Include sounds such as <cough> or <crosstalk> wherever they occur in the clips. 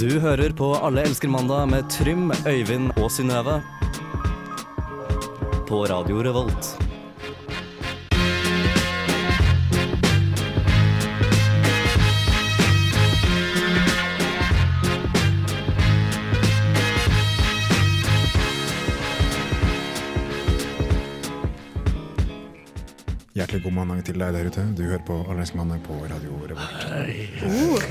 Du hører på Alle elsker mandag med Trym, Øyvind og Synnøve. På Radio Revolt. Hjertelig god mandag til deg der ute. Du hører på Allerske mandag på Radio Revolt.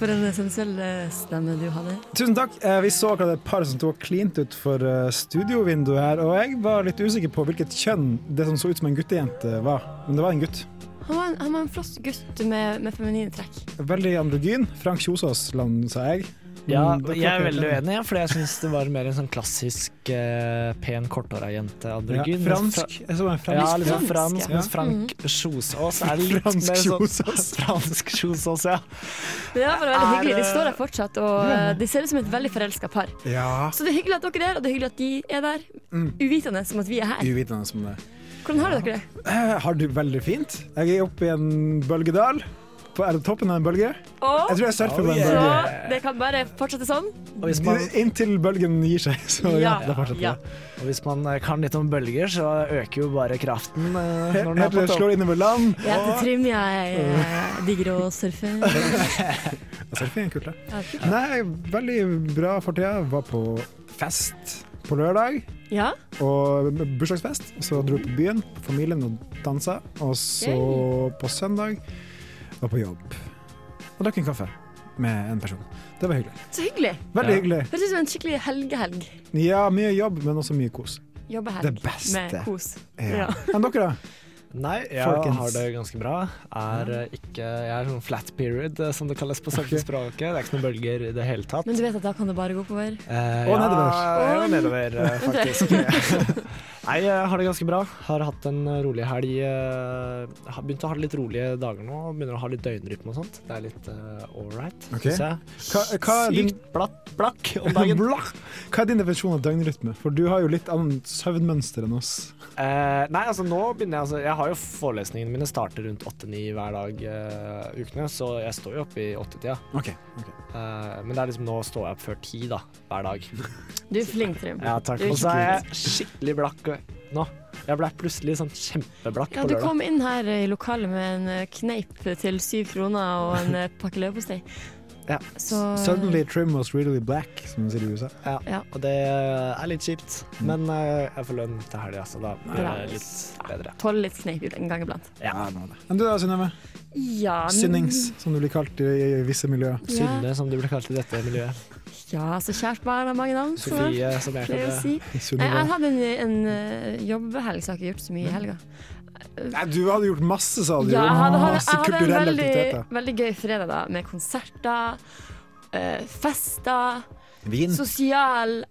For en essensiell eh, stemme du hadde. Tusen takk. Eh, Vi så akkurat et par som tok klint ut for eh, studiovinduet her, og jeg var litt usikker på hvilket kjønn det som så ut som en guttejente var. Men det var en gutt. Han var en, han var en flott gutt med, med feminine trekk. Veldig androgyn. Frank Kjosås land, sa jeg. Mm, Men Ja, det jeg er klarte veldig jeg. uenig, ja, for jeg syns det var mer en sånn klassisk eh, pen, korthåra jente. Androgyn. Ja, fransk. Jeg så en fransk. Ja, litt sånn Fransk, fransk, ja. mens Frank Kjosås er litt Fransk mer sånn Kjosås. <laughs> Fransk Kjosås, ja. Men det var bare veldig Er, hyggelig. De eh, står der fortsatt, og eh, de ser ut som et veldig forelska par. Ja. Så det er hyggelig at dere er her, og det er hyggelig at de er der. Mm. Uvitende som at vi er her. Uvitende som det. Hvordan har dere det? Eh, Har du veldig fint? Jeg er oppe i en bølgedal. På er det toppen av en bølge? Og Jeg tror jeg surfer på Oh, en yeah. så bølge. det kan bare fortsette sånn. Og hvis man, Inntil bølgen gir seg. <laughs> Så ja, Ja, da fortsetter ja. det. og hvis man eh, kan litt om bølger, så øker jo bare kraften eh, når den Helt er til på det topp. slår innover land. Jeg heter Trym, jeg eh, digger å surfe. Surfing er kult, det. Ja, kult. Nei, veldig bra for tida. Var på fest på lørdag, Ja, og bursdagsfest. Så dro vi på byen, familien og dansa. Og så på søndag var på jobb. Og drakk en kaffe med en person. Det var hyggelig. så hyggelig. Veldig Ja. hyggelig. Høres ut som en skikkelig helgehelg. Ja, mye jobb, men også mye kos. Jobbehelg Det beste. med kos. Ja. Ja. Enn dere, da? Nei, jeg Folkens. har det ganske bra. Er eh, ikke Jeg er sånn flat period, eh, som det kalles på surfespråket. Det er ikke noen bølger i det hele tatt. Men du vet at da kan det bare gå oppover. Eh, Og nedover. Ja, og nedover, eh, faktisk. Nei, jeg har det ganske bra. Har hatt en rolig helg. eh, Har begynt å ha litt rolige dager nå. Begynner å ha litt døgnrytme og sånt. Det er litt uh, all right, Ok. syns jeg. Hva, hva, er din, Sykt blatt, <laughs> blakk om dagen. Blakk. hva er din definisjon av døgnrytme? For du har jo litt annet søvnmønster enn oss. Eh, nei, altså nå begynner jeg altså, Jeg har jo forelesningene mine starter rundt 8-9 hver dag eh, ukene, så jeg står jo oppe i 8-tida. Ok, Eh, men det er liksom nå står jeg opp før 10 da, hver dag. Du er flink, Trym. Ja, takk. Du er Og så er jeg skikkelig blakk nå. Jeg ble plutselig sånn kjempeblakk Ja, på du lørdag. kom inn her i lokalet med en eh, kneip til syv kroner og en eh, pakke leverpostei. Ja. Så Suddenly trim was really black, som de sier i USA. Ja. Ja. Og det er litt kjipt, men eh, jeg får lønn til helga, så da blir Bra. det litt bedre. eh, tåler litt kneip ut en gang iblant. Ja. Enn du da, Synnøve? Ja, men- Synnings, som du blir kalt i, i visse <laughs> miljøer. Ja. Synne, som du ble kalt i dette miljøet. ja, så kjært barn har mange navn. som jeg Sofie, som jeg pleier å kaller si. Nei, Synnøve. jeg hadde en, en eh, jobbehelg, så jeg har ikke gjort så mye i helga. Nei, du hadde gjort masse, sa du. Ja, jeg hadde, hadde, masse jeg hadde en kulturelle veldig, aktiviteter. veldig gøy fredag, da, med konserter, eh, fester, Vin. sosial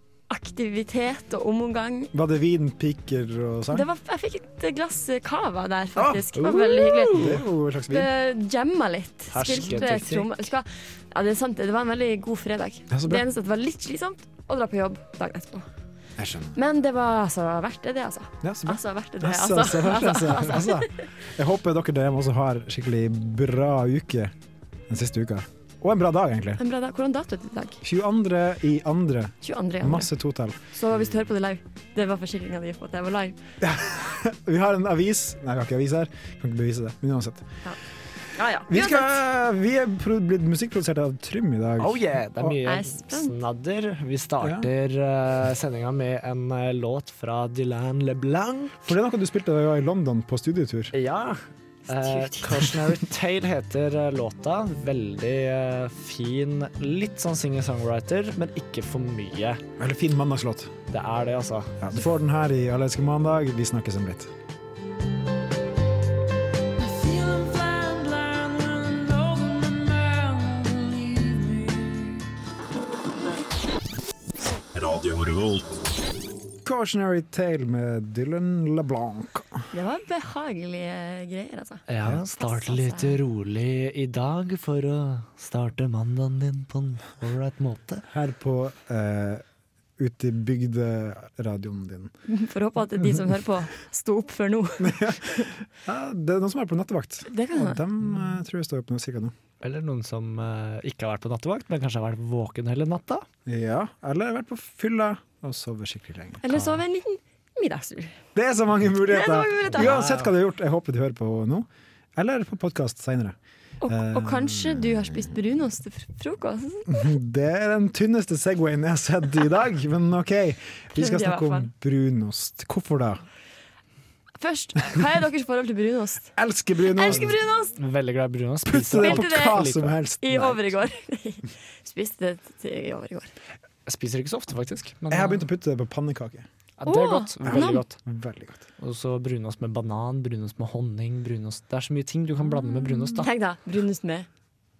aktivitet og omgang. Var det vin, piker og sang? Det var, jeg fikk et glass cava der, faktisk. Det var veldig hyggelig. Ah, uh, Det er jo en slags vin. Det Jamma litt. Spilte Hersketeknikk. tromme. Husker jeg- Ja, det er sant. Det var en veldig god fredag. Ja, så Det bra. eneste at det var litt slitsomt å dra på jobb dagen etterpå. Jeg skjønner. Men det var altså verdt det, det, altså. Ja, så bra. Altså verdt det, det, Altså, altså, altså, <laughs> altså. Jeg håper dere der hjemme også har skikkelig bra uke den siste uka. Og en bra dag, egentlig. En bra dag. Hvordan dato er det i dag? 22. i andre. 22. januar. Masse totall. Så hvis du hører på det live, det var forsikringa di på at jeg var live. Vi har en avis Nei, vi har ikke avis her. Kan ikke bevise det. Men uansett. Ja, ja. Vi, skal, vi er pro- blitt musikkprodusert av Trym i dag. Oh yeah, det er mye Jeg er spent. snadder. Vi starter uh, sendinga med en eh, låt fra Dylan LeBlanc. For det er noe du spilte da vi var i London på studietur. Ja. Eh, Cautionary Tale heter eh, låta. Veldig eh, fin, litt sånn singer-songwriter, men ikke for mye. Veldig fin mandagslåt. Det er det, altså. Ja, du får den her i Alle elsker mandag. Vi snakkes om litt. Cautionary Tale med Dylan LeBlanc. Det var behagelige greier, altså. Ja, start litt rolig i dag for å starte mandagen din på en ålreit måte. Her på eh, ute i bygderadioen din. Får håpe at de som hører på, sto opp før nå. Ja, det er noen som er på nattevakt. Det kan Og hende. dem eh, tror jeg står opp nå, cirka nå. Eller noen som eh, ikke har vært på nattevakt, men kanskje har vært våken hele natta. Ja, eller vært på fylla og sovet skikkelig lenge. Eller sove en liten middagstur. Det er så Det mange er så muligheter! mange muligheter. Uansett hva du har gjort, jeg håper du hører på nå. Eller på podkast seinere. Og, og kanskje du har spist brunost til fr- frokost. <laughs> Det er den tynneste Segwayen jeg har sett i dag, men OK. Vi Prøvde jeg i skal hvert snakke om fall. brunost. Hvorfor det? Først, hva er deres forhold til brunost? Elsker Jeg brunost! elsker brunost! Veldig glad i brunost. Putte det på Spiser, Spilte det. hva som helst. I Nei. overgård. <laughs> Spiste det til i overgård. spiser ikke så ofte, faktisk. Men eh, Jeg har begynt å putte det på pannekaker. ja, det Å, er godt. Veldig nam. godt. Veldig godt. Og så brunost med banan, brunost med honning, brunost Det er så mye ting du kan blande med Mm. brunost, da. Tenk da, brunost med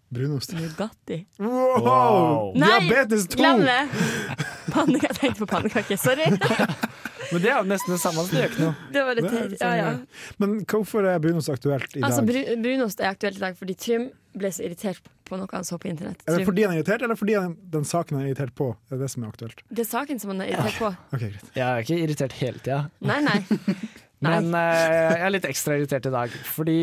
Brunost. Nugatti. Wow! Wow. Nei, Diabetes 2! Glem det! Pannekake. Jeg tenkte på pannekake, <laughs> sorry. Men det er jo nesten det samme, så det gjør ikke noe. Det var litt Det er teit. Ja, ja. Men hvorfor er brunost aktuelt i dag? Altså, bru, brunost er aktuelt i dag fordi Trym ble så irritert på noe han så på internett. er det Trym. fordi han er irritert, eller fordi han, den saken han er irritert på? Det er det som er aktuelt. Det er saken som han er irritert på. Ok, greit. Jeg er ikke irritert hele tida, Nei, <laughs> nei. Nei. men eh, jeg er litt ekstra irritert i dag. Fordi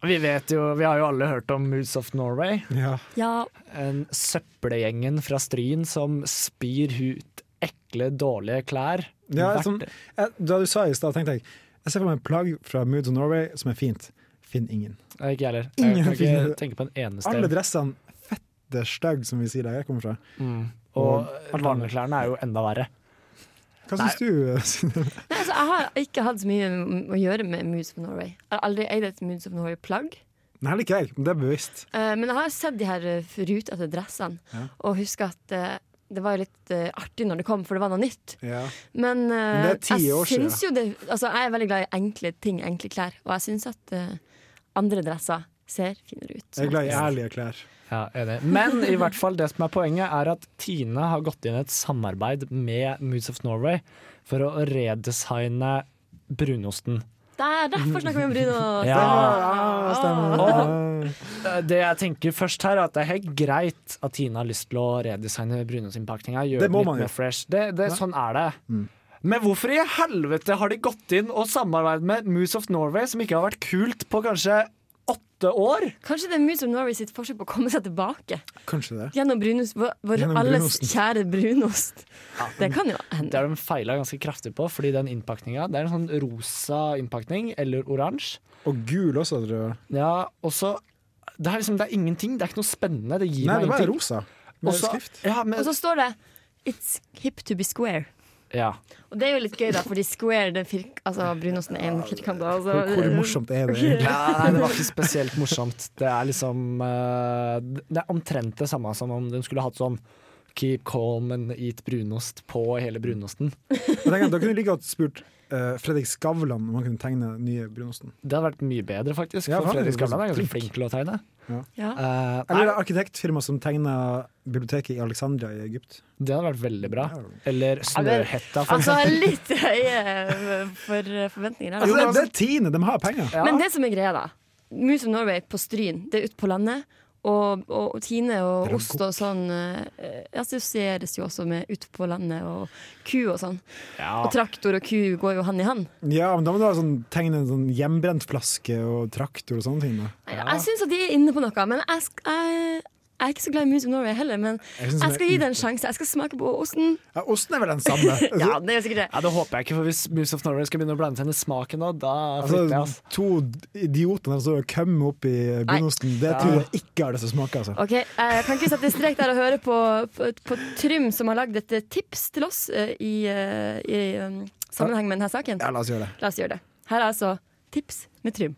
vi vet jo Vi har jo alle hørt om Moods of Norway. Ja. Ja, en søppelgjengen fra Stryn som spyr ut ekle, dårlige klær. Ja, Hvert- sånn- Jeg, da du sa i stad, tenkte jeg Jeg ser for meg en plagg fra Moods of Norway som er fint. Finn ingen. Nei, Ikke jeg heller. Ingen Jeg kan finner ikke det. tenke på en eneste Alle en. dressene fette stygg, som vi sier der jeg kommer fra. Mm. og Og vanlige klærne er jo enda verre. Hva syns du, eh, Synne? Nei, altså, jeg har ikke hatt så mye m- å gjøre med Moods of Norway. Jeg har aldri eid et Moods of Norway-plagg. Nei, heller ikke jeg, men det er bevisst. Eh, men jeg har sett de her eh, rutete dressene, Ja. og husker at eh, det var jo litt eh, artig når det kom, for det var noe nytt. Ja. Men, eh, Men det er ti år jeg syns jo det Altså, jeg er veldig glad i enkle ting, enkle klær, og jeg syns at eh, andre dresser ser finere ut. Jeg er glad i ærlige klær. Ja, enig. Men i hvert fall det som er poenget, er at Tine har gått inn i et samarbeid med Moods of Norway for å redesigne brunosten. Der, derfor snakker vi om brunost! <laughs> Ja. Ja, Ah. stemmer. Eh, Det jeg tenker først her, er at det er helt greit at Tine har lyst til å redesigne brunostinnpakninga. Det Gjøre det må litt man jo. Mm. mer fresh. Det, det, sånn er det. Men hvorfor i helvete har de gått inn og samarbeidet med Moose of Norway, som ikke har vært kult på kanskje åtte år? Kanskje det er Moods of Norway sitt forsøk på å komme seg tilbake Kanskje det. gjennom brunost, vår, vår Gjennom alles brunosten. kjære brunost. Det kan jo Det hende. har de feila ganske kraftig på, fordi den innpakninga er en sånn rosa innpakning, eller oransje. Og gul også, tror jeg. Ja, og så det er liksom, det er ingenting. Det er ikke noe spennende. Det gir Nei, det meg var ingenting. rosa. Med Også- skrift. Ja, men, Og så står det 'It's hip to be square'. ja. Og det er jo litt gøy, da, fordi square det er firk altså, Brunosten er en firkant. Altså. Hvor, hvor morsomt er det? <laughs> egentlig? Ja, nei, det var ikke spesielt morsomt. Det er liksom eh, Det er omtrent det samme som om de skulle hatt sånn Keep calm and eat brunost på hele brunosten. Jeg tenker at Da kunne du like godt spurt eh, Fredrik Skavlan om han kunne tegne den nye brunosten. Det hadde vært mye bedre, faktisk. Ja, for han er Fredrik jo Skavlan er ganske flink. flink til å tegne. Ja. Eh, Eller nei, det arkitektfirmaet som tegna biblioteket i Alexandria i Egypt. det hadde vært veldig bra. Eller men- Snøhetta, for Altså eksempel. litt høye eh, for forventninger. Altså, Der. det, det er Tine, de har penger! Ja. Men det som er greia, da. Moose of Norway på Stryn, det er ute på landet. Og, og Tine og ost og sånn eh, assosieres jo også med ute på landet og ku og sånn. Ja. Og traktor og ku går jo hand i hand. Ja, men da må du ha sånn, tegne en sånn hjemmebrent flaske og traktor og sånne ting. Da. Nei, Jeg syns at de er inne på noe, men jeg, sk jeg, jeg er ikke så glad i Moose of Norway heller. Men Jeg jeg, synes den er skal gi det en sjanse. Jeg skal smake på osten. Ja, osten er vel den samme? Ja, det er sikkert det. Ja, det håper jeg ikke, for hvis Moose of Norway skal begynne å blande seg inn i smaken nå, da Altså, flytter jeg, altså. to idioter som står og kømmer opp i brunosten, det tror jeg ikke er det som smaker. Altså. Ok, eh, Jeg kan ikke sette strek der og høre på, på, på Trym, som har lagd et tips til oss eh, i, eh, i um, sammenheng med denne saken. Ja, la oss gjøre det. La oss gjøre det. Her er altså tips med Trym.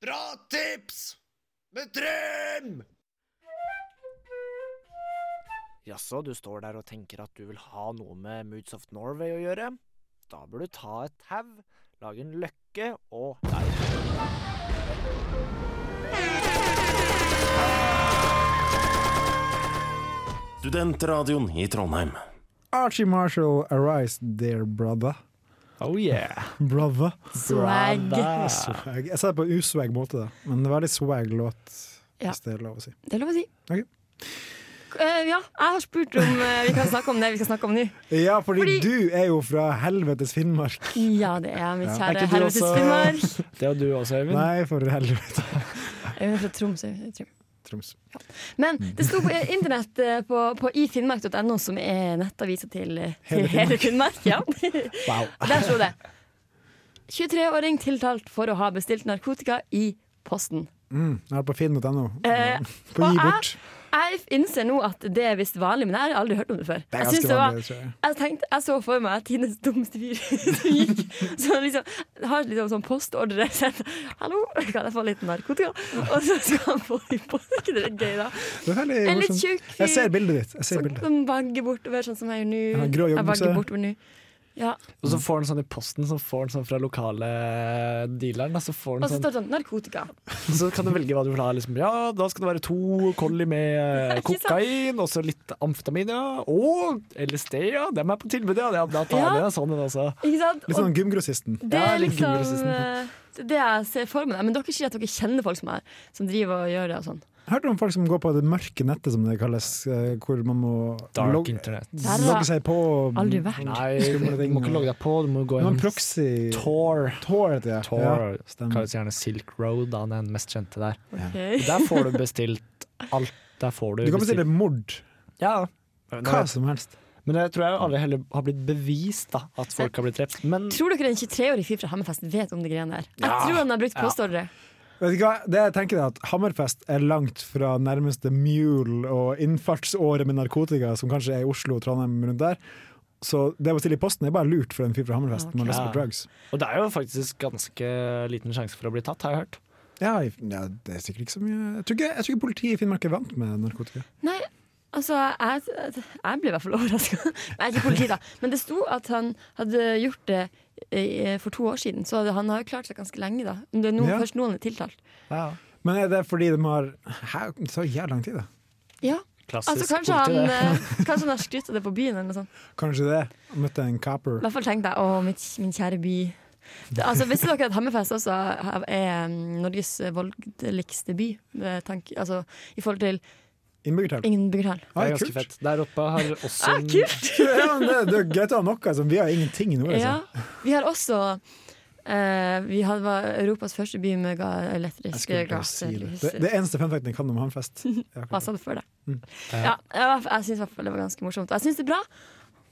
Bra tips med Trym! Jaså, du står der og tenker at du vil ha noe med Moods of Norway å gjøre? Da bør du ta et tau, lage en løkke og Studentradioen i Trondheim. Archie Marshall, arise, dear brother. Oh yeah. Brother. Swag. Brother. Swag. Jeg sa det på uswag måte, da. men det var litt swag låt, Ja. hvis det er lov å si. Det er lov å si. eh, ja, jeg har spurt om eh, vi kan snakke om det vi skal snakke om nå. Ja, fordi, Fordi- du er jo fra helvetes Finnmark. Ja, det er mitt Ja. Er kjære ikke du helvetes også- Finnmark. Det er jo du også, Øyvind. Nei, for helvete. Jeg er fra Troms. jeg er fra Troms. Troms. Men Mm. det sto på internett eh, på, på ifinnmark.no, som er nettavisa til, eh, til Hele hele Finnmark. Ja. <laughs> <laughs> Der sto det 23-åring tiltalt for å ha bestilt narkotika i posten. Mm, jeg er på finn.no. Eh, På og gi jeg- bort. Jeg innser nå at det er visst vanlig, men jeg har aldri hørt om det før. Det er Jeg synes ganske det var vanlig, tror jeg. jeg, tenkte, jeg så for meg Tines dummeste fyr <laughs> som gikk som liksom har liksom sånn postordre. <laughs> Sånn, 'Hallo, kan jeg få litt narkotika?' Og så skal han få det i posten. Er ikke det litt gøy, da? Det er veldig En litt morsomt. tjukk fyr. Jeg ser bildet ditt. Jeg ser Som bildet. kan vagge bortover, sånn som jeg gjør nå. Jeg har grå Jeg joggebukse. vagger bortover nå. Ja. Og så får han sånn i posten, så får han sånn fra lokale dealeren. Og så, får Og han så sånn, står det sånn narkotika. og så kan du velge hva du vil ha. Liksom. Ja, da skal det være to kolli med eh, <laughs> Ikke sant? kokain, og så litt amfetamin, ja. Og LSD, ja. Dem er på tilbud, ja. ja da tar Ja. jeg det. Sånn er det også. Ikke sant? Litt sånn gymgrossisten. Og det Ja, er litt liksom gulrosen. eh, det jeg ser for meg. Men dere sier at dere kjenner folk som, er, som driver og gjør det og sånn. Hørte du om folk som går på det mørke nettet, som det kalles, eh, hvor man må log- internet. har jeg logge seg på mm, Aldri vært. Nei, Skumle du ting, må ikke ja. logge deg på. Du må Det var gå en gjennom proxy Tor. Tor heter det. Tor Ja, stemmer. kalles gjerne Silk Road, da han er den mest kjente der. Ok. Der får du bestilt alt. Der får du, Du kan bestille mord. Ja. Hva som helst. Men jeg tror jeg aldri heller har blitt bevist da, at folk har blitt drept. Men Tror dere en 23-årig fyr fra Hammerfest vet om de greiene der? Jeg tror han har brukt postordre. Vet du hva? Det jeg tenker er at Hammerfest er langt fra nærmeste mule og innfartsåret med narkotika, som kanskje er i Oslo og Trondheim rundt der. Så det å bestille i posten er bare lurt for en fyr fra Hammerfest. Man leser på Ja. drugs. Og det er jo faktisk ganske liten sjanse for å bli tatt, har jeg hørt. Ja, i- ja, det er sikkert ikke så mye Jeg tror ikke, jeg tror ikke politiet i Finnmark er vant med narkotika. Nei, altså Jeg, jeg ble i hvert fall overraska. <laughs> Jeg er ikke politi, da. Men det sto at han hadde gjort det eh, for to år siden, så han har jo klart seg ganske lenge, da. Det er nå, Ja. først nå han er tiltalt. Men er det fordi de har Hæ, det tar jævlig lang tid, da. Ja, Klassisk altså kanskje han, politi, det. eh, kanskje han har skrytt av det på byen eller noe sånt. Kanskje det. Møtte en I copper. hvert fall tenkte jeg, å mitt, min kjære by. Det, altså, Visste dere at Hammerfest også er eh, Norges voldeligste by? Det er Tank, altså, I forhold til Innbyggertall. ingen byggertall. Det Ah, er ganske kult. fett. Der <laughs> oppe har også Ah, kult! <laughs> Ja, men det, det er greit å ha noe. Altså. Vi har ingenting i nord. Ja, Altså. vi har også eh, Vi hadde- var Europas første by med ga Jeg elektriske skulle bare si det. Det, Mm. gatehuser. det eneste fun facten jeg kan om Hammerfest. <laughs> Ja, Hva sa du før det? Ja, jeg, jeg syns i hvert fall det var ganske morsomt. Og jeg syns det er bra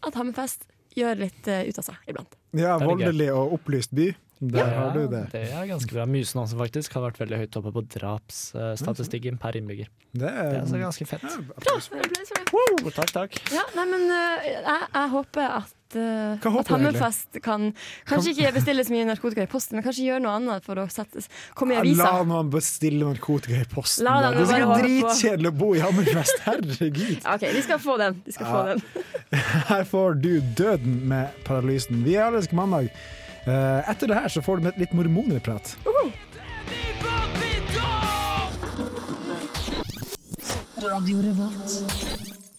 at Hammerfest gjør litt eh, ut av seg iblant. ja det gøy. voldelig og opplyst by. Der har du det. det er ganske bra. Mysen også faktisk har vært veldig høyt oppe på drapsstatistikken per innbygger. Det Det er er, Mm. altså ganske fett. Bra! Applaus for det. Wow, takk, takk. Ja, nei, men eh, jeg, jeg håper at, eh, Hva håper at du egentlig? Hammerfest kan Kanskje ikke bestille så mye narkotika i posten, men kanskje gjøre noe annet for å sette, komme i La avisa. noen bestille narkotika i posten. La da. dem det er bare sikkert holde på. dritkjedelig å bo i Hammerfest. Herregud. Ja, OK, de skal få den. De skal få den. Her får du Døden med Paralysen. Vi er allerske mandag. Eh, Etter det her så får du litt mormonerprat.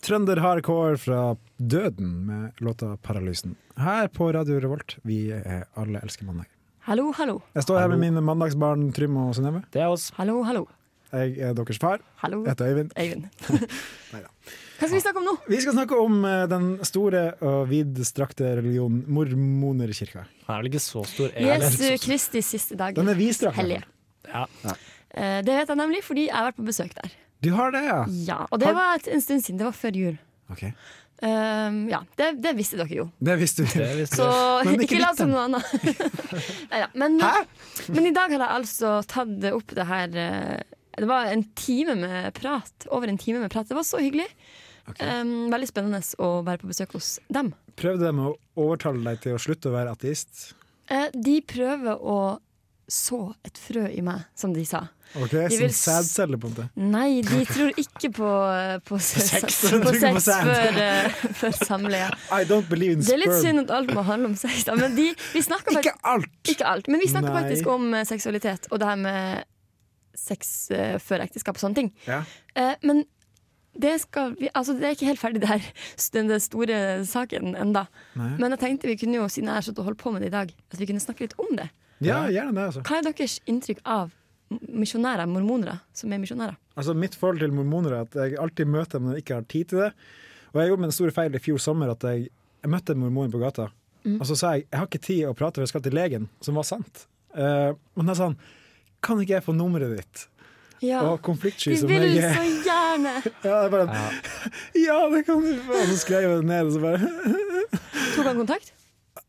Trønder hardcore fra Døden med låta 'Paralysen'. Her på Radio Revolt, vi er alle elsker mandag. Hallo, hallo. Jeg står her med mine mandagsbarn Trym og Synnøve. Det er oss. Hallo, hallo. Jeg er deres far. Hallo, Jeg heter Øyvind. <laughs> Eivind. Hva skal vi snakke om nå? Vi skal snakke om eh, den store og vidstrakte religionen mormonerkirka. Han er vel ikke så stor, Jesu egentlig. Kristi siste dag. Den er vidstrakt. Hellige. Ja. Eh, Det vet jeg nemlig fordi jeg har vært på besøk der. Du har det, ja? Ja, Og det var et- en stund siden. Det var før jul. Ok. Um, ja, det, det visste dere jo. Det visste vi. Det visste Så Men ikke ikke lat litt, som noe annet. <laughs> Neida, men, men i dag har jeg altså tatt det opp det her eh, Det var en time med prat. Over en time med prat. Det var så hyggelig. Um, veldig spennende å være på besøk hos dem. Prøvde de å overtale deg til å slutte å være ateist? Eh, de prøver å så et frø i meg, som de sa. Ok, De vil Som vil... sædcelle, på en måte. Nei, <laughs> de tror ikke på, eh, på sex, De tror på ikke på sex sex. før, eh, før samleie. <laughs> I don't believe in Det er sperm. litt synd at alt må handle om sex, da, men de, vi snakker faktisk Ikke alt! Ikke alt, men vi snakker Nei. faktisk om eh, seksualitet og det her med sex eh, før ekteskap og sånne ting. Ja. Eh, men det, skal vi, altså det er ikke helt ferdig, det her, s- den den store saken enda. Nei. Men jeg tenkte vi kunne jo, siden jeg har sluttet å holde på med det i dag, at vi kunne snakke litt om det. Ja, gjerne det, altså. Hva er deres inntrykk av misjonærer, mormonere, som er misjonærer. Altså Mitt forhold til mormoner er at jeg alltid møter dem når jeg ikke har tid til det. Og jeg gjorde min store feil i fjor sommer at jeg, jeg møtte en mormon på gata. Og så sa jeg jeg har ikke tid å prate, for jeg skal til legen, som var sant. Eh, men da sa han kan ikke jeg få nummeret ditt? Ja. Og konfliktsky De som vil jeg er. Ah. så gjerne! Ja, jeg bare, <laughs> ja, det kan du få! Og så skrev jeg det ned, og så bare <laughs> Tok han kontakt?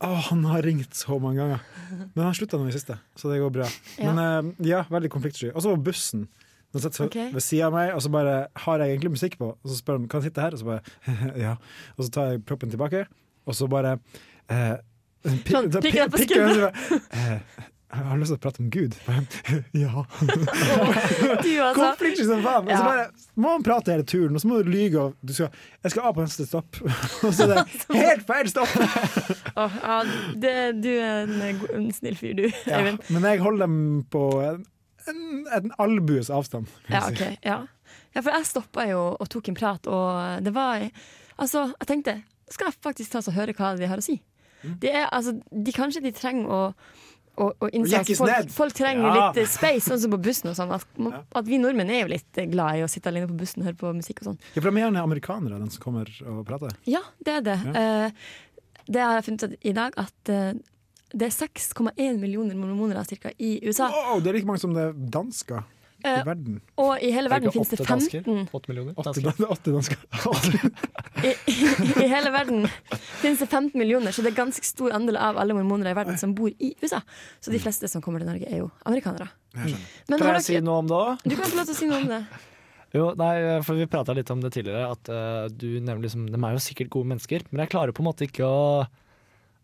Å, han har ringt så mange ganger. Men han slutta nå i siste, så det går bra. Ja. Men eh, ja, veldig konfliktsky. Og så var bussen. Den sitter så- Ok. ved sida av meg, og så bare har jeg egentlig musikk på. Og så spør han kan jeg sitte her, og så bare <laughs> ja. Og så tar jeg proppen tilbake, og så bare eh, pi- Sånn, da pi- pikker deg på pikker jeg, og så bare, eh, Jeg har lyst til å prate om Gud. Bare, <laughs> ja. Du, altså. Konfliktsky som faen! Og så Ja. bare må han prate hele turen, og så må du lyge og du skal, 'Jeg skal av på neste stopp', <laughs> og så er det <laughs> helt feil stopp! Å, ja, det, du er en, go- en snill fyr, du, Ja, Eivind. men jeg holder dem på en, en, en albues avstand. kan Ja, jeg si. ok, ja. ja, for jeg stoppa jo og tok en prat, og det var Altså, jeg tenkte skal jeg faktisk ta oss og høre hva de har å si? De er, altså, de kanskje de trenger å å, å innse at Jekkes folk, ned. folk trenger Ja. litt eh, space, sånn som på bussen. og sånn at, man- at vi nordmenn er jo litt eh, glad i å sitte alene på bussen og høre på musikk og sånn. Ja, for de er gjerne amerikanere, den som kommer og prater. Ja, det er det. Eh, det har jeg funnet ut i dag, at eh, det er 6,1 millioner mormoner cirka, i USA. Wow, det er like mange som det er dansker i Eh, verden. og i hele verden finnes det 15 Åtte millioner? Åtte, dansker. dan- <laughs> åtte dansker. i, I hele verden finnes det 15 millioner, så det er ganske stor andel av alle mormoner i verden som bor i USA. Så de fleste som kommer til Norge, er jo amerikanere. Mm. Men Kan har jeg si dere, noe om det òg? du kan få lov til å si noe om det. Jo, nei, for vi prata litt om det tidligere, at eh, du nevner liksom De er jo sikkert gode mennesker, men jeg klarer på en måte ikke å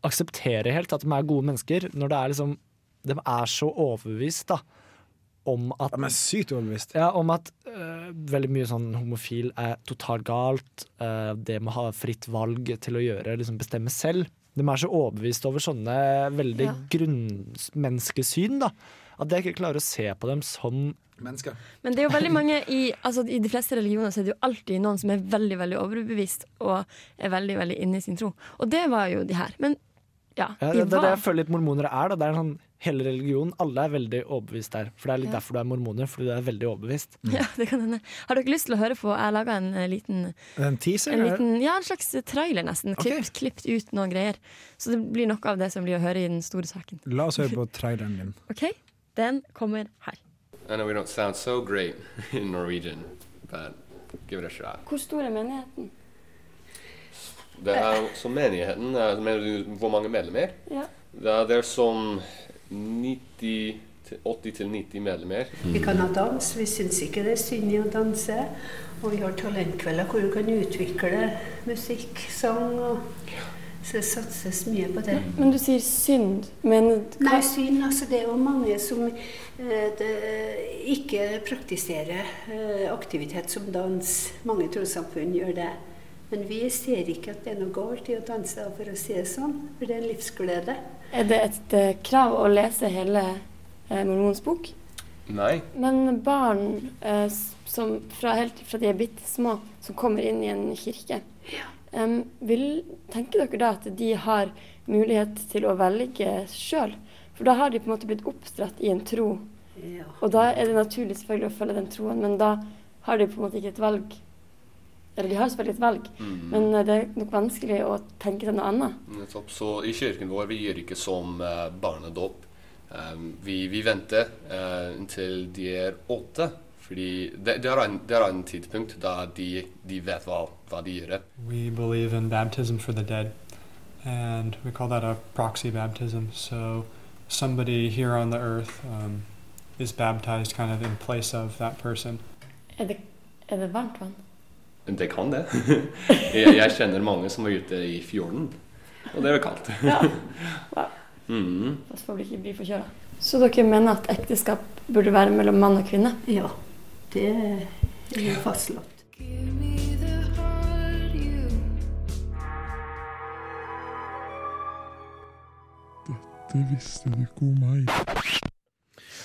akseptere helt at de er gode mennesker, når det er liksom De er så overbevist, da, om at De er sykt overbevist. Ja, om at øh, veldig mye sånn homofil er totalt galt. øh, det med å ha fritt valg til å gjøre, liksom bestemme selv. De er så overbevist over sånne veldig Ja. grunnmenneskesyn, da. At jeg ikke klarer å se på dem som Mennesker. Men det er jo veldig mange i, altså, i de fleste religioner så er det jo alltid noen som er veldig veldig overbevist og er veldig veldig inne i sin tro. Og det var jo de her. Men ja, ja, de det, det er det jeg var føler litt mormonere er. da Det er en sånn Hele religionen, alle er veldig overbevist der. For det er Ja. litt derfor du er mormoner, fordi du er veldig overbevist. ja, det kan hende. Har dere lyst til å høre på? Jeg laga en eh, liten, Er det en teaser? en eller? liten Ja, en slags trailer, nesten. Klipp, Klippet ut noen greier. Så det blir noe av det som blir å høre i den store saken. La oss høre på traileren din. OK? Den kommer her. I know we don't sound so great <laughs> in Norwegian, but give it a shot. Hvor stor er menigheten? Det er også menigheten. eh, Mener du hvor mange medlemmer? Ja. Det er, det er sånn 90 til- 80 til 90 medlemmer. Vi kan ha dans, vi syns ikke det er synd i å danse. Og vi har talentkvelder hvor du kan utvikle musikk, sang og Så det satses mye på det. Men du sier synd. Men Nei, syn, altså det er jo mange som eh, det, ikke praktiserer eh, aktivitet som dans. Mange trossamfunn gjør det. Men vi ser ikke at det er noe galt i å danse, for å si det sånn. For det er en livsglede. er det et eh, krav å lese hele eh, mormons bok? Nei. Men barn eh, s- som fra, helt fra de er bitte små, som kommer inn i en kirke em, vil, Tenker dere da at de har mulighet til å velge sjøl? For da har de på en måte blitt oppdratt i en tro. Ja. Og da er det naturlig selvfølgelig å følge den troen, men da har de på en måte ikke et valg. Eller de har selvfølgelig et valg, men eh, det er nok vanskelig å tenke seg noe annet. Mm, Nettopp. Så i kirken vår vi gjør ikke som eh, barnedåp. Eh, vi, vi venter eh, inntil de er åtte. Fordi det, det, er en, det er en tidspunkt da de, de vet hva, hva de gjør. We believe in baptism for the dead, and we call that a proxy baptism. So somebody here on the earth um, is baptized kind of in place of that person. Er det, er det varmt vann? Det kan det. jeg, jeg kjenner mange som var ute i fjorden, og det er jo kaldt. <laughs> Ja. Mhm. Pass på å ikke bli forkjøla. Så dere mener at ekteskap burde være mellom mann og kvinne? ja. Det er jo fastslått.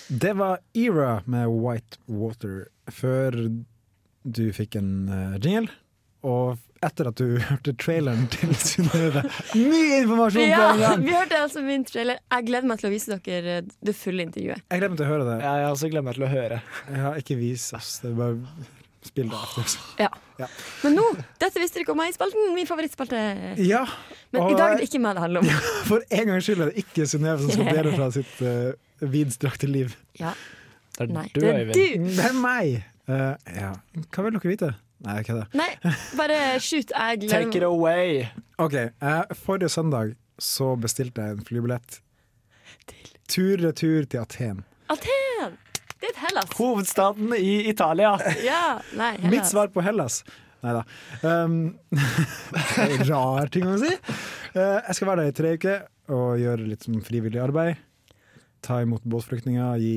Det var Era med White Water før du fikk en eh, jingle. og etter at du <laughs> hørte traileren til Synnøve Mye informasjon på <laughs> en Ja, gang! vi hørte altså min trailer. Jeg gleder meg til å vise dere eh, det fulle intervjuet. Jeg glemmer til å høre det. jeg også glemmer til å høre. Ja, ikke vis oss. Det er bare spill det etter. altså. Ja. Ja. Men nå, dette visste dere om meg i spalten, min favorittspalte. Ja. Men i og- dag er det ikke meg det handler <laughs> om. For en gangs skyld er det ikke Synnøve som skal dele fra sitt eh, vidstrakte liv. Ja. Det Nei, du, det er Øyvind. du. Det er meg! Eh, ja. Hva vil dere vite? Nei, hva er det? Nei, bare shoot. Jeg gleder meg. away! Ok, eh, Forrige søndag så bestilte jeg en flybillett. Tur-retur til Aten. Aten! Det er et Hellas. Hovedstaden i Italia. Ja, nei, Hellas. Eh, Mitt svar på Hellas Nei da. <laughs> Um, rar ting å si. Eh, jeg skal være der i tre uker og gjøre litt sånn frivillig arbeid. Ta imot båtflyktninger, gi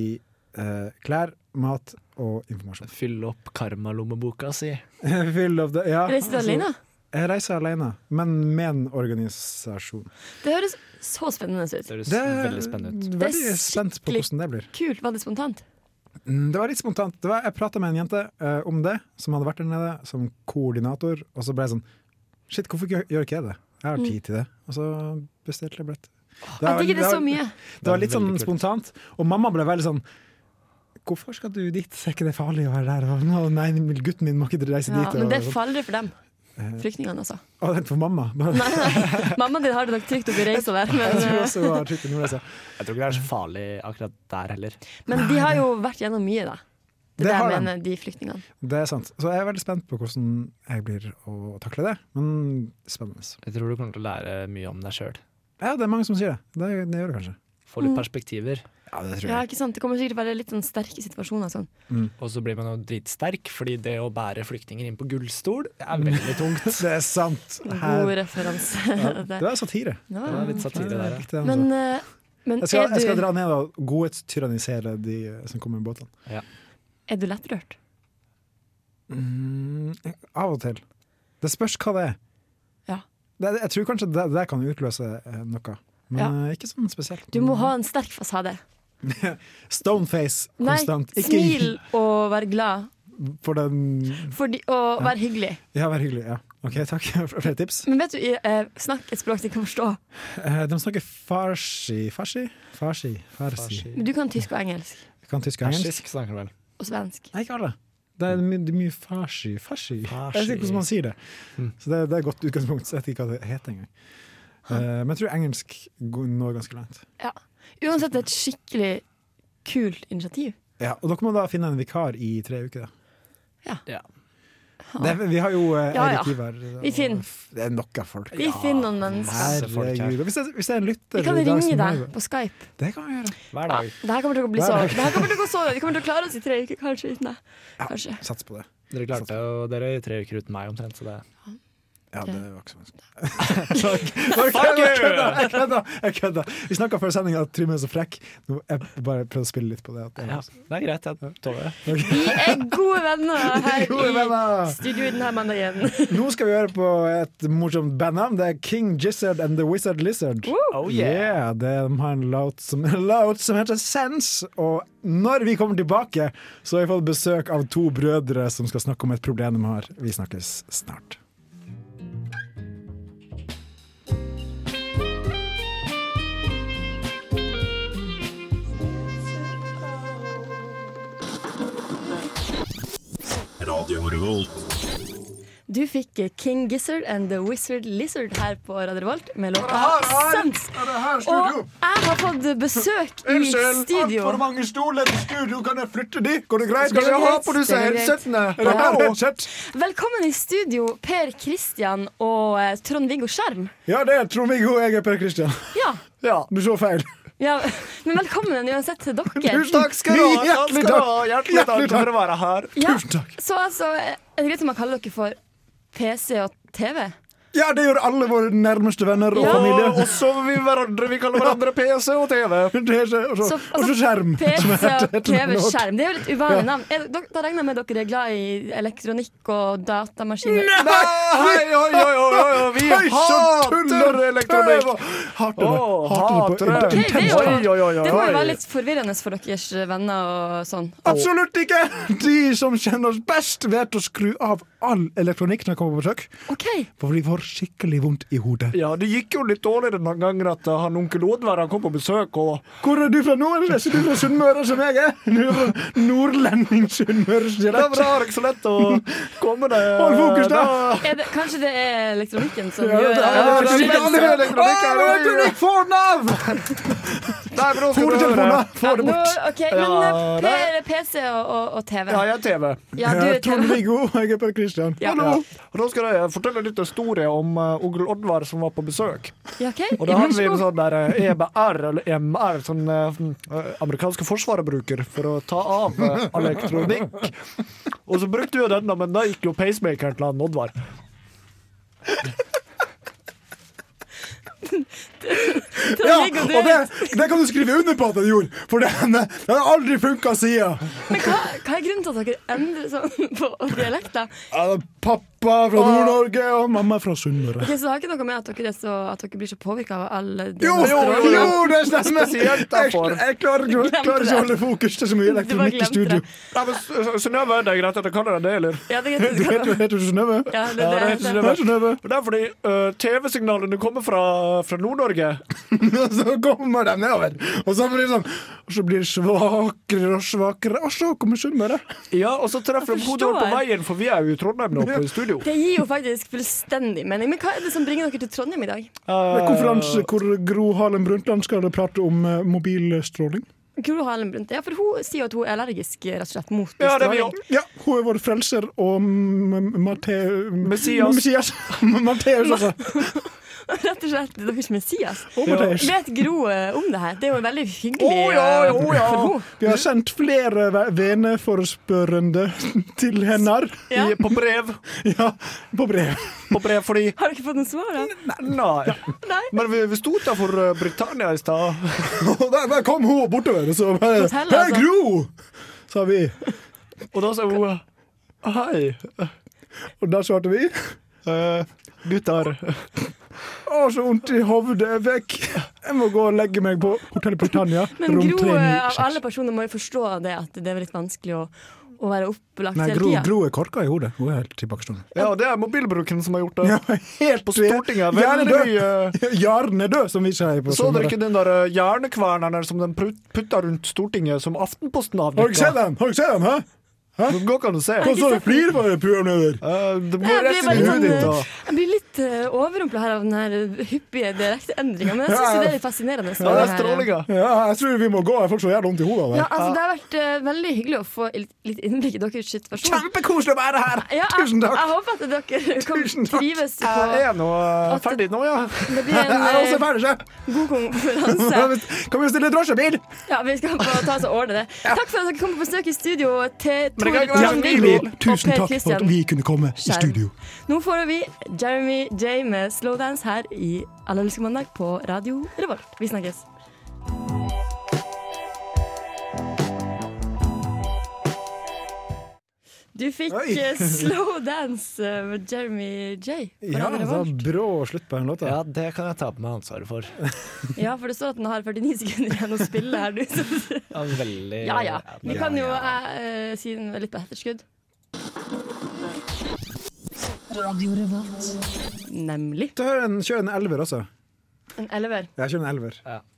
eh, klær, mat og informasjon. <laughs> Fylle opp karmalommeboka si. Fyll opp det, ja. Reiser du altså, alene? Jeg reiser alene, men med en organisasjon. Det høres så spennende ut. Det er Veldig spent på hvordan det blir. Kult. Var det spontant? Mm, Det var litt spontant. Det var, jeg prata med en jente eh, om det, som hadde vært der nede som koordinator. Og så ble jeg sånn Shit, hvorfor gjør gjør ikke jeg det? Jeg har Mm. tid til det. Og så bestilte jeg billett. Jeg var- digger det var- så mye. Det var litt Det er sånn veldig kult. spontant. Og mamma ble veldig sånn Hvorfor skal du dit? Er ikke det farlig å være der? Og, «Nå, nei, gutten min må ikke reise Ja, dit. men og det er sånn. farlig for dem. Eh, Flyktningene, altså. Å, vent for mamma. <laughs> Nei, nei. Mammaen din har det nok trygt oppi reisa der, Jeg tror men, også hun sånn, har trykt i Nordreisa. Jeg tror ikke det er så farlig akkurat der heller. men de har jo vært gjennom mye, da. Det, Det er det har jeg de. mener, de flyktningene. Det er sant. Så jeg er veldig spent på hvordan jeg blir å takle det. Men spennende. Jeg tror du kommer til å lære mye om deg sjøl. Ja, det er mange som sier det. Det, det gjør det kanskje. Få litt Mm. perspektiver. Ja, det Ja, ikke sant? Det kommer sikkert være litt sånn sterke situasjoner. Sånn. Mm. Og så blir man jo dritsterk, fordi det å bære flyktninger inn på gullstol er veldig tungt. <laughs> det er sant. God referanse. <laughs> Ja, det der. var satire. Ja. Det var litt satire Ja, der, jeg likte den, Men, så. eh, men jeg, skal, er, jeg skal du, dra ned og godhetstyrannisere de eh, som kommer med båtene. er du lettrørt? Mm, av og til. Det spørs hva det er. Ja. Det, jeg tror kanskje det, det kan utløse eh, noe. Men eh, ikke sånn spesielt. Du må ha en sterk fasade. Stoneface Nei, konstant. Ikke smil og vær glad. for den Fordi, og vær hyggelig. Ja, vær hyggelig. Ja. OK, takk <laughs> for flere tips. Men vet du, i, eh, snakk et språk de kan forstå. Eh, de snakker farsi Farsi? Farsi. farsi. Men Du kan tysk og engelsk. Jeg Kan tysk og engelsk? Persisk snakker du vel. Og svensk. Nei, ikke alle. Det er mye, det er mye farsi. farsi. Hmm. Jeg vet ikke hvordan man sier det. Mm. Så det, det er et godt utgangspunkt. Så jeg vet ikke hva det heter engang. Eh, men jeg tror engelsk går- når ganske langt. Ja. Uansett et skikkelig kult initiativ. Ja, og dere må da finne en vikar i tre uker. Da. Ja. Ja. Det, er- vi har jo eh, Ja, ja. Eirik Ivar. Vi finner- Det er nok av folk. Vi finner noen mennesker. Herregud. Hvis det, hvis det er en lytter Vi kan i dag ringe som deg hører- på Skype. Det kan vi gjøre. Hver dag. Det her kommer til å bli Hver så dag. Det her kommer til å gå så Vi kommer til å klare oss i tre uker, kanskje. Uten deg. Kanskje. Sats på det. Dere klarte jo dere i tre uker uten meg omtrent, så det Ja, Ja. det var ikke så <laughs> vanskelig. Jeg kødda! Vi snakka før sendinga at Trym er så frekk. Nå, jeg bare prøvde å spille litt på det. At det ja, Det er greit, jeg tåler det. Vi er gode <laughs> venner her Gode venner. i studio denne mandagen. Nå skal vi høre på et morsomt bandnavn. Det er King Gizzard and The Wizard Lizard. Oh, yeah. det, de har en låt som, en låt som heter Sense. Og når vi kommer tilbake, så har vi fått besøk av to brødre som skal snakke om et problem de har. Vi snakkes snart. Radio Revolt. Du fikk King Gizzard and The Wizard Lizard her på Radio Revolt med Ah, låta Sens. Og jeg har fått besøk i studio. mange stoler i studio. Kan jeg flytte de? Går det greit? Skal jeg ha på disse Det er greit. headsetene? Er det her headset? Velkommen i studio, Per Kristian og eh, Trond-Viggo Skjerm. Ja, det er Trond-Viggo. Jeg er Per Kristian. Ja, Ja. Du så feil. ja, men velkommen uansett til dere. skal du ha, takk skal du ha, hjertelig takk for å være her. Ja, Tusen takk. så altså, er det greit om jeg kaller dere for PC og TV? Ja, det gjør alle våre nærmeste venner og Ja, familie. og så vi hverandre, vi kaller hverandre PC og TV. <laughs> Det er så, og, så, og altså, så skjerm. som er PC, det heter nå. TV-skjerm. Det er jo litt Ja. uvanlig navn. Er, dere- da regner jeg med dere er glad i elektronikk og datamaskiner. Nei, oi, oi, oi, oi, oi, <laughs> vi Oi, så hater tuller. elektronikk! Hater Hater det. det på Ok, det, er jo, intenst. Oi, oi, oi, det må oi. jo være litt forvirrende for deres venner og sånn. Absolutt ikke! <laughs> De som kjenner oss best, vet å skru av all elektronikk når jeg kommer på besøk. For vi får skikkelig vondt i hodet. Ja, det gikk jo litt dårlig den gangen at uh, han onkel Oddvar han kom på besøk og Hvor er du fra nå? Er du fra Sunnmøre, som jeg er? <laughs> Du er fra Nordlending-Sunnmøre, sier Ja, men da er det ikke så lett å komme det Hold fokus, da! Er det, kanskje det er elektronikken som Ja, gjør det er det. elektronikk. Ja, det er elektronikk. Å, elektronikk, få nav! Nei, men nå skal Få det du til, høre. Mona. Få det Nå, bort. ok, men Ja, eh, P- nei. er det PC og, og, og TV. Ja, jeg er TV. Ja, du er TV. Viggo, og jeg er Per Christian. Ja. Hallo. Og da skal jeg fortelle litt historie om uh, onkel Oddvar som var på besøk. Ja, ok. Og da har Vær vi så en god. sånn der eh, EBR, eller EMR, som eh, amerikanske forsvaret bruker for å ta av eh, elektronikk. Og så brukte vi jo den, da, men da gikk jo pacemakeren til han Oddvar. Ja, og det, det kan du skrive under på at den gjorde, for det, det har aldri funka siden. Men hva, hva er grunnen til at dere endrer sånn på dialekter? Ja, det er Pappa fra Nord-Norge og mamma fra Sunnmøre. Ok, så det har ikke noe med at dere, er så, at dere blir så påvirka av alle de Jo, jo, strålene? jo, det stemmer! Jeg, Spesielt jeg derfor. klarer, ikke- jeg klarer ikke å holde fokus. Det er så mye elektronikk i studio. Nei, men S- S- Synnøve, det er greit at jeg kaller deg det, eller? Ja, det Du heter jo- heter jo Synnøve. <laughs> Ja, det, Ja, det er Det er Synnøve. Synnøve. Og Det er fordi eh, TV-signalene kommer fra, fra Nord-Norge. Og så kommer de nedover, og så blir det sånn Og så blir det svakere og svakere, og så kommer Sunnmøre. Ja, og så treffer Jeg de hodet vårt på forstår. veien, for vi er jo i Trondheim nå på studio. Det gir jo faktisk fullstendig mening. Men hva er det som bringer dere til Trondheim i dag? Det er konferanse hvor Gro Harlem Brundtland skal prate om eh, mobilstråling. Gro Harlem Brundtland. Ja, for hun sier jo at hun er allergisk rett og slett mot Ja, det er vi stråling. også. Ja, hun er vår frelser og M- M- Mate- Messias. Messias. <laughs> Matteus, altså. <laughs> Rett og slett deres Messias. Og Matteus. Vet Gro eh, om det her? Det er jo veldig hyggelig Å, ja, eh, jo, ja. for henne. Vi har sendt flere ve- <laughs> veneforespørrende til henne. Ja. I, Eh, på brev. Ja, på brev. På brev fordi Har dere fått noe svar? da? Nei. Nei. Men vi, vi sto utafor Britannia i stad. <laughs> Og der, der kom hun bortover, og så bare Fortell, Hei, altså. Gro! sa vi. Og da sa hun Hei, Og da svarte vi. eh, gutter. Å, så vondt i hovedet. Vekk. Jeg må gå og legge meg på Hotell Britannia. <laughs> Men rom Gro eh, av 396. alle personer må jo forstå det at det er litt vanskelig å, å være opplagt Nei, hele Gro, tida. Gro er korka i hodet. Hun er helt tilbakestående. Ja, det er mobilbruken som har gjort det. helt På Stortinget. Veldig mye Jarn er død, som vi sier på Så dere Sunnmøre. ikke den der eh, jernekverneren som de prut- putta rundt Stortinget, som Aftenposten Har dere sett avdekka? den? Har dere sett den, hæ? Gå kan du se. Hva så du flirer for, programleder? Eh, det Nei, blir Jeg rett blir, inn i bare hodet sånn, ditt. da. eh, jeg blir litt uh, overrumpla her av den her hyppige dialektendringa, men jeg syns jo det er litt fascinerende. Ja, med det det er her, eh. strålinga. Ja, jeg tror vi må gå. Jeg får så jævlig vondt i hodet. av det. Ja, altså, det har vært eh, veldig hyggelig å få litt, litt innblikk i deres situasjon. Kjempekoselig å være her! Ja, jeg, Tusen takk. Jeg håper at dere kom, Tusen takk. trives på Jeg E er nå eh, At- ferdig nå, ja. Det blir <laughs> en Jeg er også eh, ferdig, sjef. god <laughs> konferanse. Kan vi bestille drosjebil? Ja, vi skal bare ta oss og ordne det. Takk for at dere kom på besøk i studio til Men det Tor kan Trond ikke være så Viggo billig. og Tusen Per takk for at Christian. vi kunne komme i Skjerm. studio. Nå får vi Jeremy J med Slowdance her i Allergisk mandag på Radio Revolt. Vi snakkes. Du fikk Oi. eh, slow dance eh, med Jeremy J. på Ja, Radio det var Revolt. brå slutt på den låta. Ja, det kan jeg ta på meg ansvaret for. Ja, for det står at den har 49 sekunder igjen å spille <laughs> her. Du. Ja, veldig Ja ja. Vi men- kan jo eh, si den litt på etterskudd. Nemlig Kjør en, kjør en elver også. en elver. Jeg kjører en elver.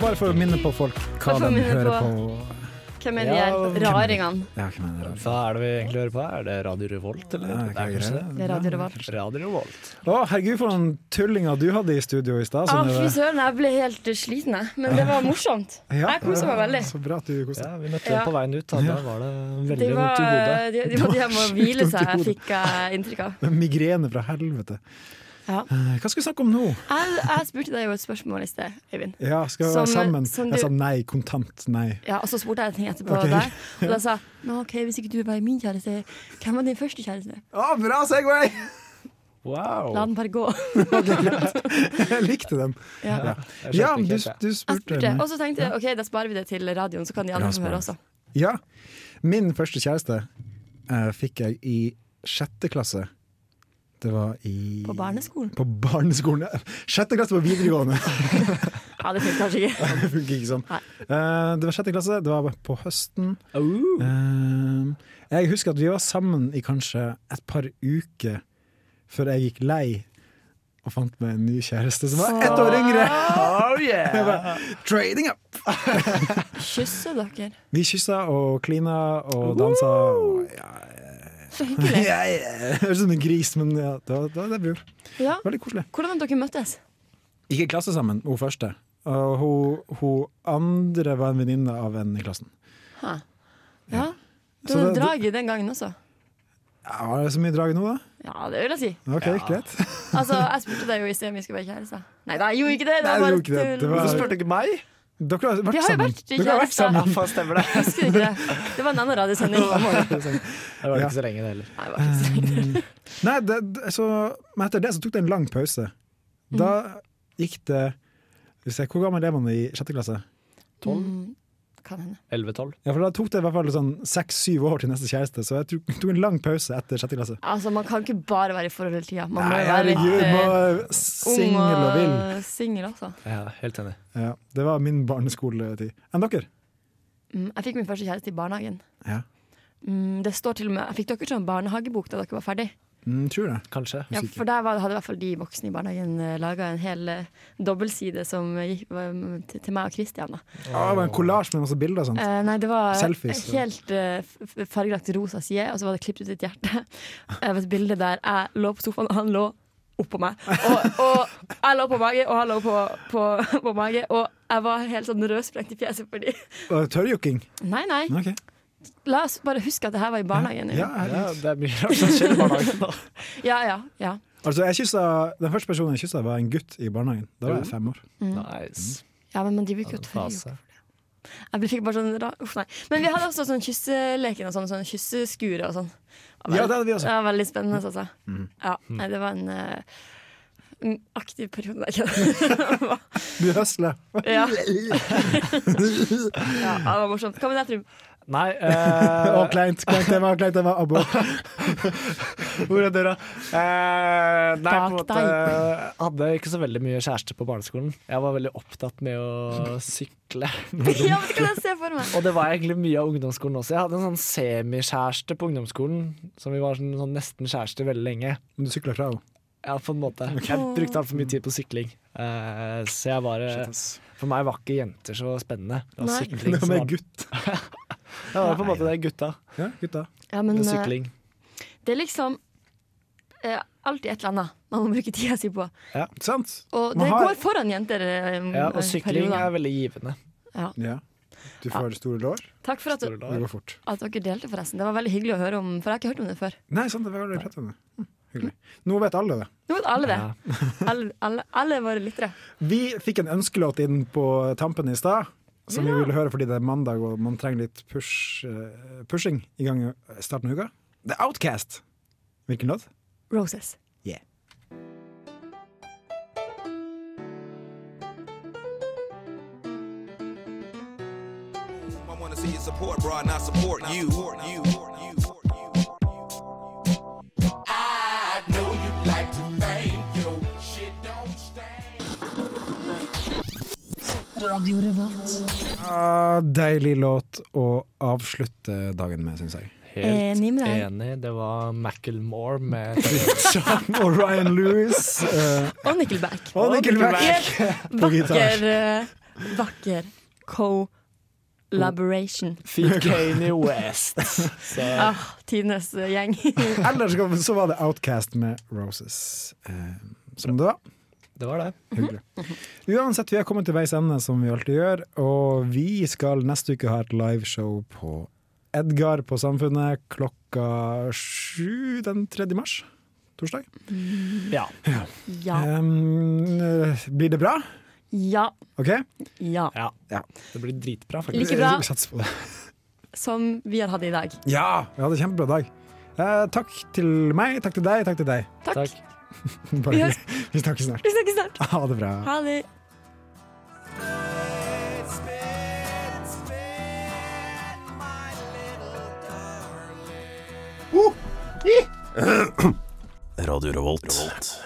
Bare for å minne på folk hva Bare for å de minne hører på. Ok, Hvem er de her raringene? Ja, hvem er det Hva er det vi egentlig hører på? her? Er det Radio Revolt, Ja, eller? det er hva kanskje er det? Det er Radio Revolt. Radio Revolt. Å, herregud, for noen tullinger du hadde i studio i stad. Ah, Synnøve. Fy søren, jeg ble helt eh, sliten, jeg. Men det var <laughs> morsomt. Ja. Jeg koser meg veldig. Så bra at du koser deg. vi møtte Ja. dem på veien ut, da. Da var det De veldig var, eh, vondt i hodet. de, de var de her med <laughs> å hvile Sjukt vondt i seg, hodet. fikk jeg inntrykk av. Migrene fra helvete. Ja. Eh, Hva skal vi snakke om nå? Jeg, jeg spurte deg jo et spørsmål i sted, Øyvind. Ja, skal vi Som- eh, være sammen? som Jeg du- sa nei, kontant nei. Ja, og så spurte jeg en ting etterpå Ok. deg, og da sa jeg, «Nå, OK, hvis ikke du var min kjæreste, hvem var din første kjæreste? Å, bra Segway! <laughs> Wow. La den bare gå. Jeg likte den. Ja. Jeg ja. skjønte Ja, ikke helt du, det. du Jeg spurte. spurte, meg. og så tenkte jeg OK, da sparer vi det til radioen, så kan de Bra andre få høre også. sparing. Ja. Min første kjæreste eh, fikk jeg i sjette klasse. Det var i På barneskolen? På barneskolen. Sjette klasse på <laughs> videregående! Ja, det funker kanskje <laughs> ikke. det funker ikke sånn. Eh, det var sjette klasse, det var på høsten. Eh, jeg husker at vi var sammen i kanskje et par uker før jeg gikk lei og fant meg en ny kjæreste som var ett år yngre! <laughs> Oh, Jeg bare, Trading up! Kysser dere? Vi kyssa og klina og dansa. og- Så Ja, hyggelig. <laughs> ja. Jeg eh, Høres ut som en gris, men ja, det var, det var det vi gjorde. Ja. Veldig koselig. Hvordan dere møttes? Gikk i klasse sammen, hun første. Og hun, hun andre var en venninne av en i klassen. Ha. Ja. Så Det var det- drag i den gangen også. Ja, var det så mye drag nå, da? Ja, det vil jeg si. Ok, greit. <laughs> Altså, Jeg spurte deg jo i sted om vi skulle være kjærester. Nei da, jeg gjorde ikke det. det Nei, var du bare gjorde ikke det. tull. Det var- Hvorfor spurte du ikke meg? Dere har Vi vært har jo sammen. vært Dere har vært kjærester. sammen. Ja, faen, stemmer det. Husker du ikke det? Det var en annen <laughs> radiosending. Det var ikke så lenge, det heller. Nei, det var ikke så lenge. Nei, det, det- så, men etter det så tok det en lang pause. Da Mm. gikk det vi ser, Hvor gammel er man i sjette klasse? Mm, Kan hende. 11-12. Ja, for Da tok det i hvert fall sånn seks-syv år til neste kjæreste, så jeg tok, tok en lang pause etter sjette klasse. Altså, Man kan ikke bare være i forhold hele tida. Man må Nei, jo være litt herregud, eh, må ung singel og vill. og singel også. Ja, helt enig. Ja, det var min barneskoletid. Enn dere? Mm, jeg fikk min første kjæreste i barnehagen. Ja. Mm, det står til og med, Jeg fikk dere sånn barnehagebok da dere var ferdig. Mm, tror det. Kanskje. Ja, for der var, hadde i hvert fall de voksne i barnehagen uh, laga en hel eh, dobbeltside som eh, gikk, var, mm, til, til meg og Christian. Da. Ja, det var en kollasj med masse bilder og sånt. Eh, nei, det var Selfies. helt eh, f- f- fargelagt rosa side, og så var det klippet ut et hjerte. <laughs> Det var et bilde der jeg lå på sofaen, og han lå oppå meg. Og, og jeg lå på mage, og han lå på, på, på mage, og jeg var helt sånn rødsprengt i fjeset fordi <laughs> Og Tørrjokking. Nei, nei. Ok. La oss bare huske at det her var i barnehagen. Ja, Øyvind. Ja, det er mye rart som <laughs> skjer i barnehagen, da. ja, ja, ja. Altså, jeg kyssa, Den første personen jeg kyssa, var en gutt i barnehagen. Da var jeg fem år. Mm. <laughs> Nice. Ja, men man driver ikke og Mm. tørrjokker for det. Jeg ble- fikk bare sånn ra- Uff, nei. Men vi hadde også sånn kysseleken og sånn, sånn kysseskure og sånn. Ja, det hadde vi også. Det var veldig spennende, altså. Mhm. Ja, nei, det var en eh, en aktiv periode. <laughs> Nei, ikke det. Du høsler. ja. ja, det var morsomt. Hva med deg, Trym? <laughs> Nei eh, Å, kleint. Kleint tema, kleint tema. Abo. Hvor er døra? Eh, nei, på en Bak måte eh, hadde jeg ikke så veldig mye kjæreste på barneskolen. Jeg var veldig opptatt med å <laughs> sykle. ja, men det kan jeg se for meg. Og det var egentlig mye av ungdomsskolen også. Jeg hadde en sånn semikjæreste på ungdomsskolen. Som vi var sånn, sånn nesten kjærester veldig lenge. Men du sykla fra henne. Ja, på en måte. Jeg brukte altfor mye tid på sykling. Eh, så jeg var eh, For meg var ikke jenter så spennende. Det var Nei. Det sykling var som mer var gutt. Ja, det var på en måte det gutta. Ja, gutta. Ja, men, Med eh, sykling. det er liksom eh, alltid et eller annet man må bruke tida si på. Ja. Sant? Og Man det har- går foran jenter. eh, eh, Ja, og sykling perioder. er veldig givende. ja. Ja. Du får store lår. Takk for at, du, Det går fort. at dere delte, forresten. Det var veldig hyggelig å høre om, for jeg har ikke hørt om det før. Nei, sant, det var aldri pratet om det. Hm, Hyggelig. Nå vet alle det. Nå vet alle det. Alle, alle, alle våre lyttere. Vi fikk en ønskelåt inn på tampen i stad, som vi ville høre fordi det er mandag og man trenger litt push, eh, pushing i gang i starten av uka. The Outcast. Hvilken låt? Roses. Yeah. I want to see your support, bro, and I support you. you. I know you'd like to thank you. Shit don't Radio Revolt. Ah, deilig låt å avslutte dagen med, syns <laughs> jeg. Helt Enig med deg. enig. Det var Macclemore med og Ryan Lewis. eh, Og Nickelback. <laughs> Og Nickelback. Helt På gitar. Vakker, eh, vakker Collaboration. Feed Kanye West. Så. Ah, Tidenes gjeng. <laughs> Ellers så- så var det Outcast med Roses. Eh, som det var. Det var det. Hyggelig. Uansett, vi har kommet til veis ende, som vi alltid gjør. Og vi skal neste uke ha et liveshow på Edgar på Samfunnet klokka sju den 3. mars. Torsdag. Ja. Ja. Em, eh, blir det bra? Ja. OK? Ja. Ja. Det blir dritbra, faktisk. Like bra. Vi satser på det. Som vi har hatt i dag. <laughs> Ja, vi hadde kjempebra dag. Eh, takk til meg, takk til deg, takk til deg. <laughs> Takk. Bare, Vi vi, høres. vi snakkes snart. Vi snakkes snart. Ha det bra. Ha det. Radio Revolt.